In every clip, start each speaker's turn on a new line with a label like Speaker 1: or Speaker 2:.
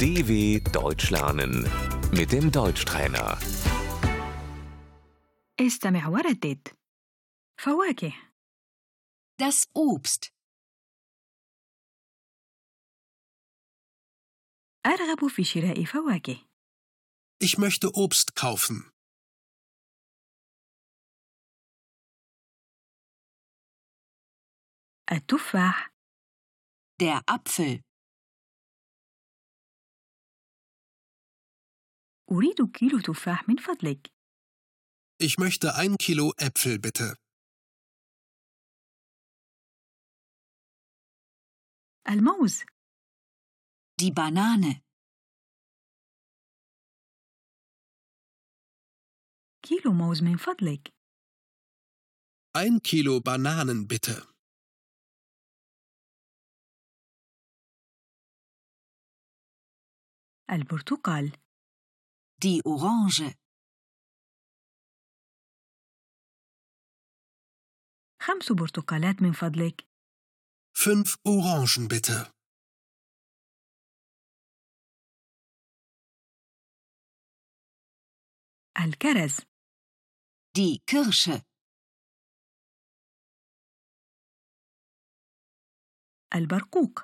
Speaker 1: DW Deutsch lernen mit dem Deutschtrainer.
Speaker 2: استمع وردد فواكه
Speaker 3: Das Obst.
Speaker 2: أرغب في شراء فواكه
Speaker 4: Ich möchte Obst kaufen.
Speaker 2: التفاح
Speaker 3: Der Apfel.
Speaker 2: أريد كيلو تفاح من فضلك
Speaker 4: Ich möchte ein Kilo Äpfel bitte.
Speaker 2: الموز
Speaker 3: Die Banane.
Speaker 2: كيلو موز من فضلك
Speaker 4: Ein Kilo Bananen bitte.
Speaker 2: البرتقال
Speaker 3: Die Orange.
Speaker 2: خمس برتقالات من فضلك
Speaker 4: Fünf Orangen bitte.
Speaker 2: الكرز
Speaker 3: Die Kirsche.
Speaker 2: البرقوق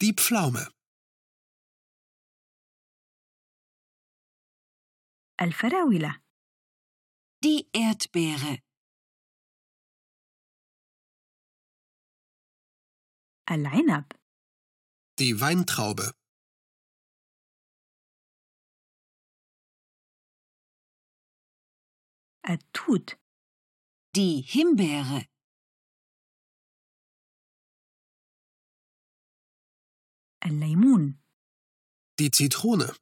Speaker 4: Die Pflaume.
Speaker 2: الفراولة
Speaker 3: Die Erdbeere.
Speaker 2: العنب
Speaker 4: Die Weintraube.
Speaker 2: التوت
Speaker 3: Die Himbeere.
Speaker 2: الليمون
Speaker 4: Die Zitrone.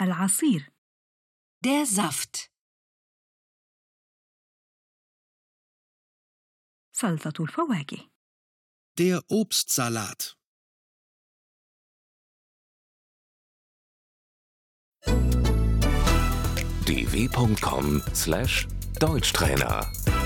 Speaker 2: العصير
Speaker 3: Der Saft.
Speaker 2: سلطة الفواكه
Speaker 4: Der Obstsalat.
Speaker 1: dw.com/deutschtrainer